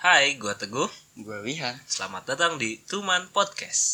Hai, gua Teguh. Gue Wihan Selamat datang di Tuman Podcast.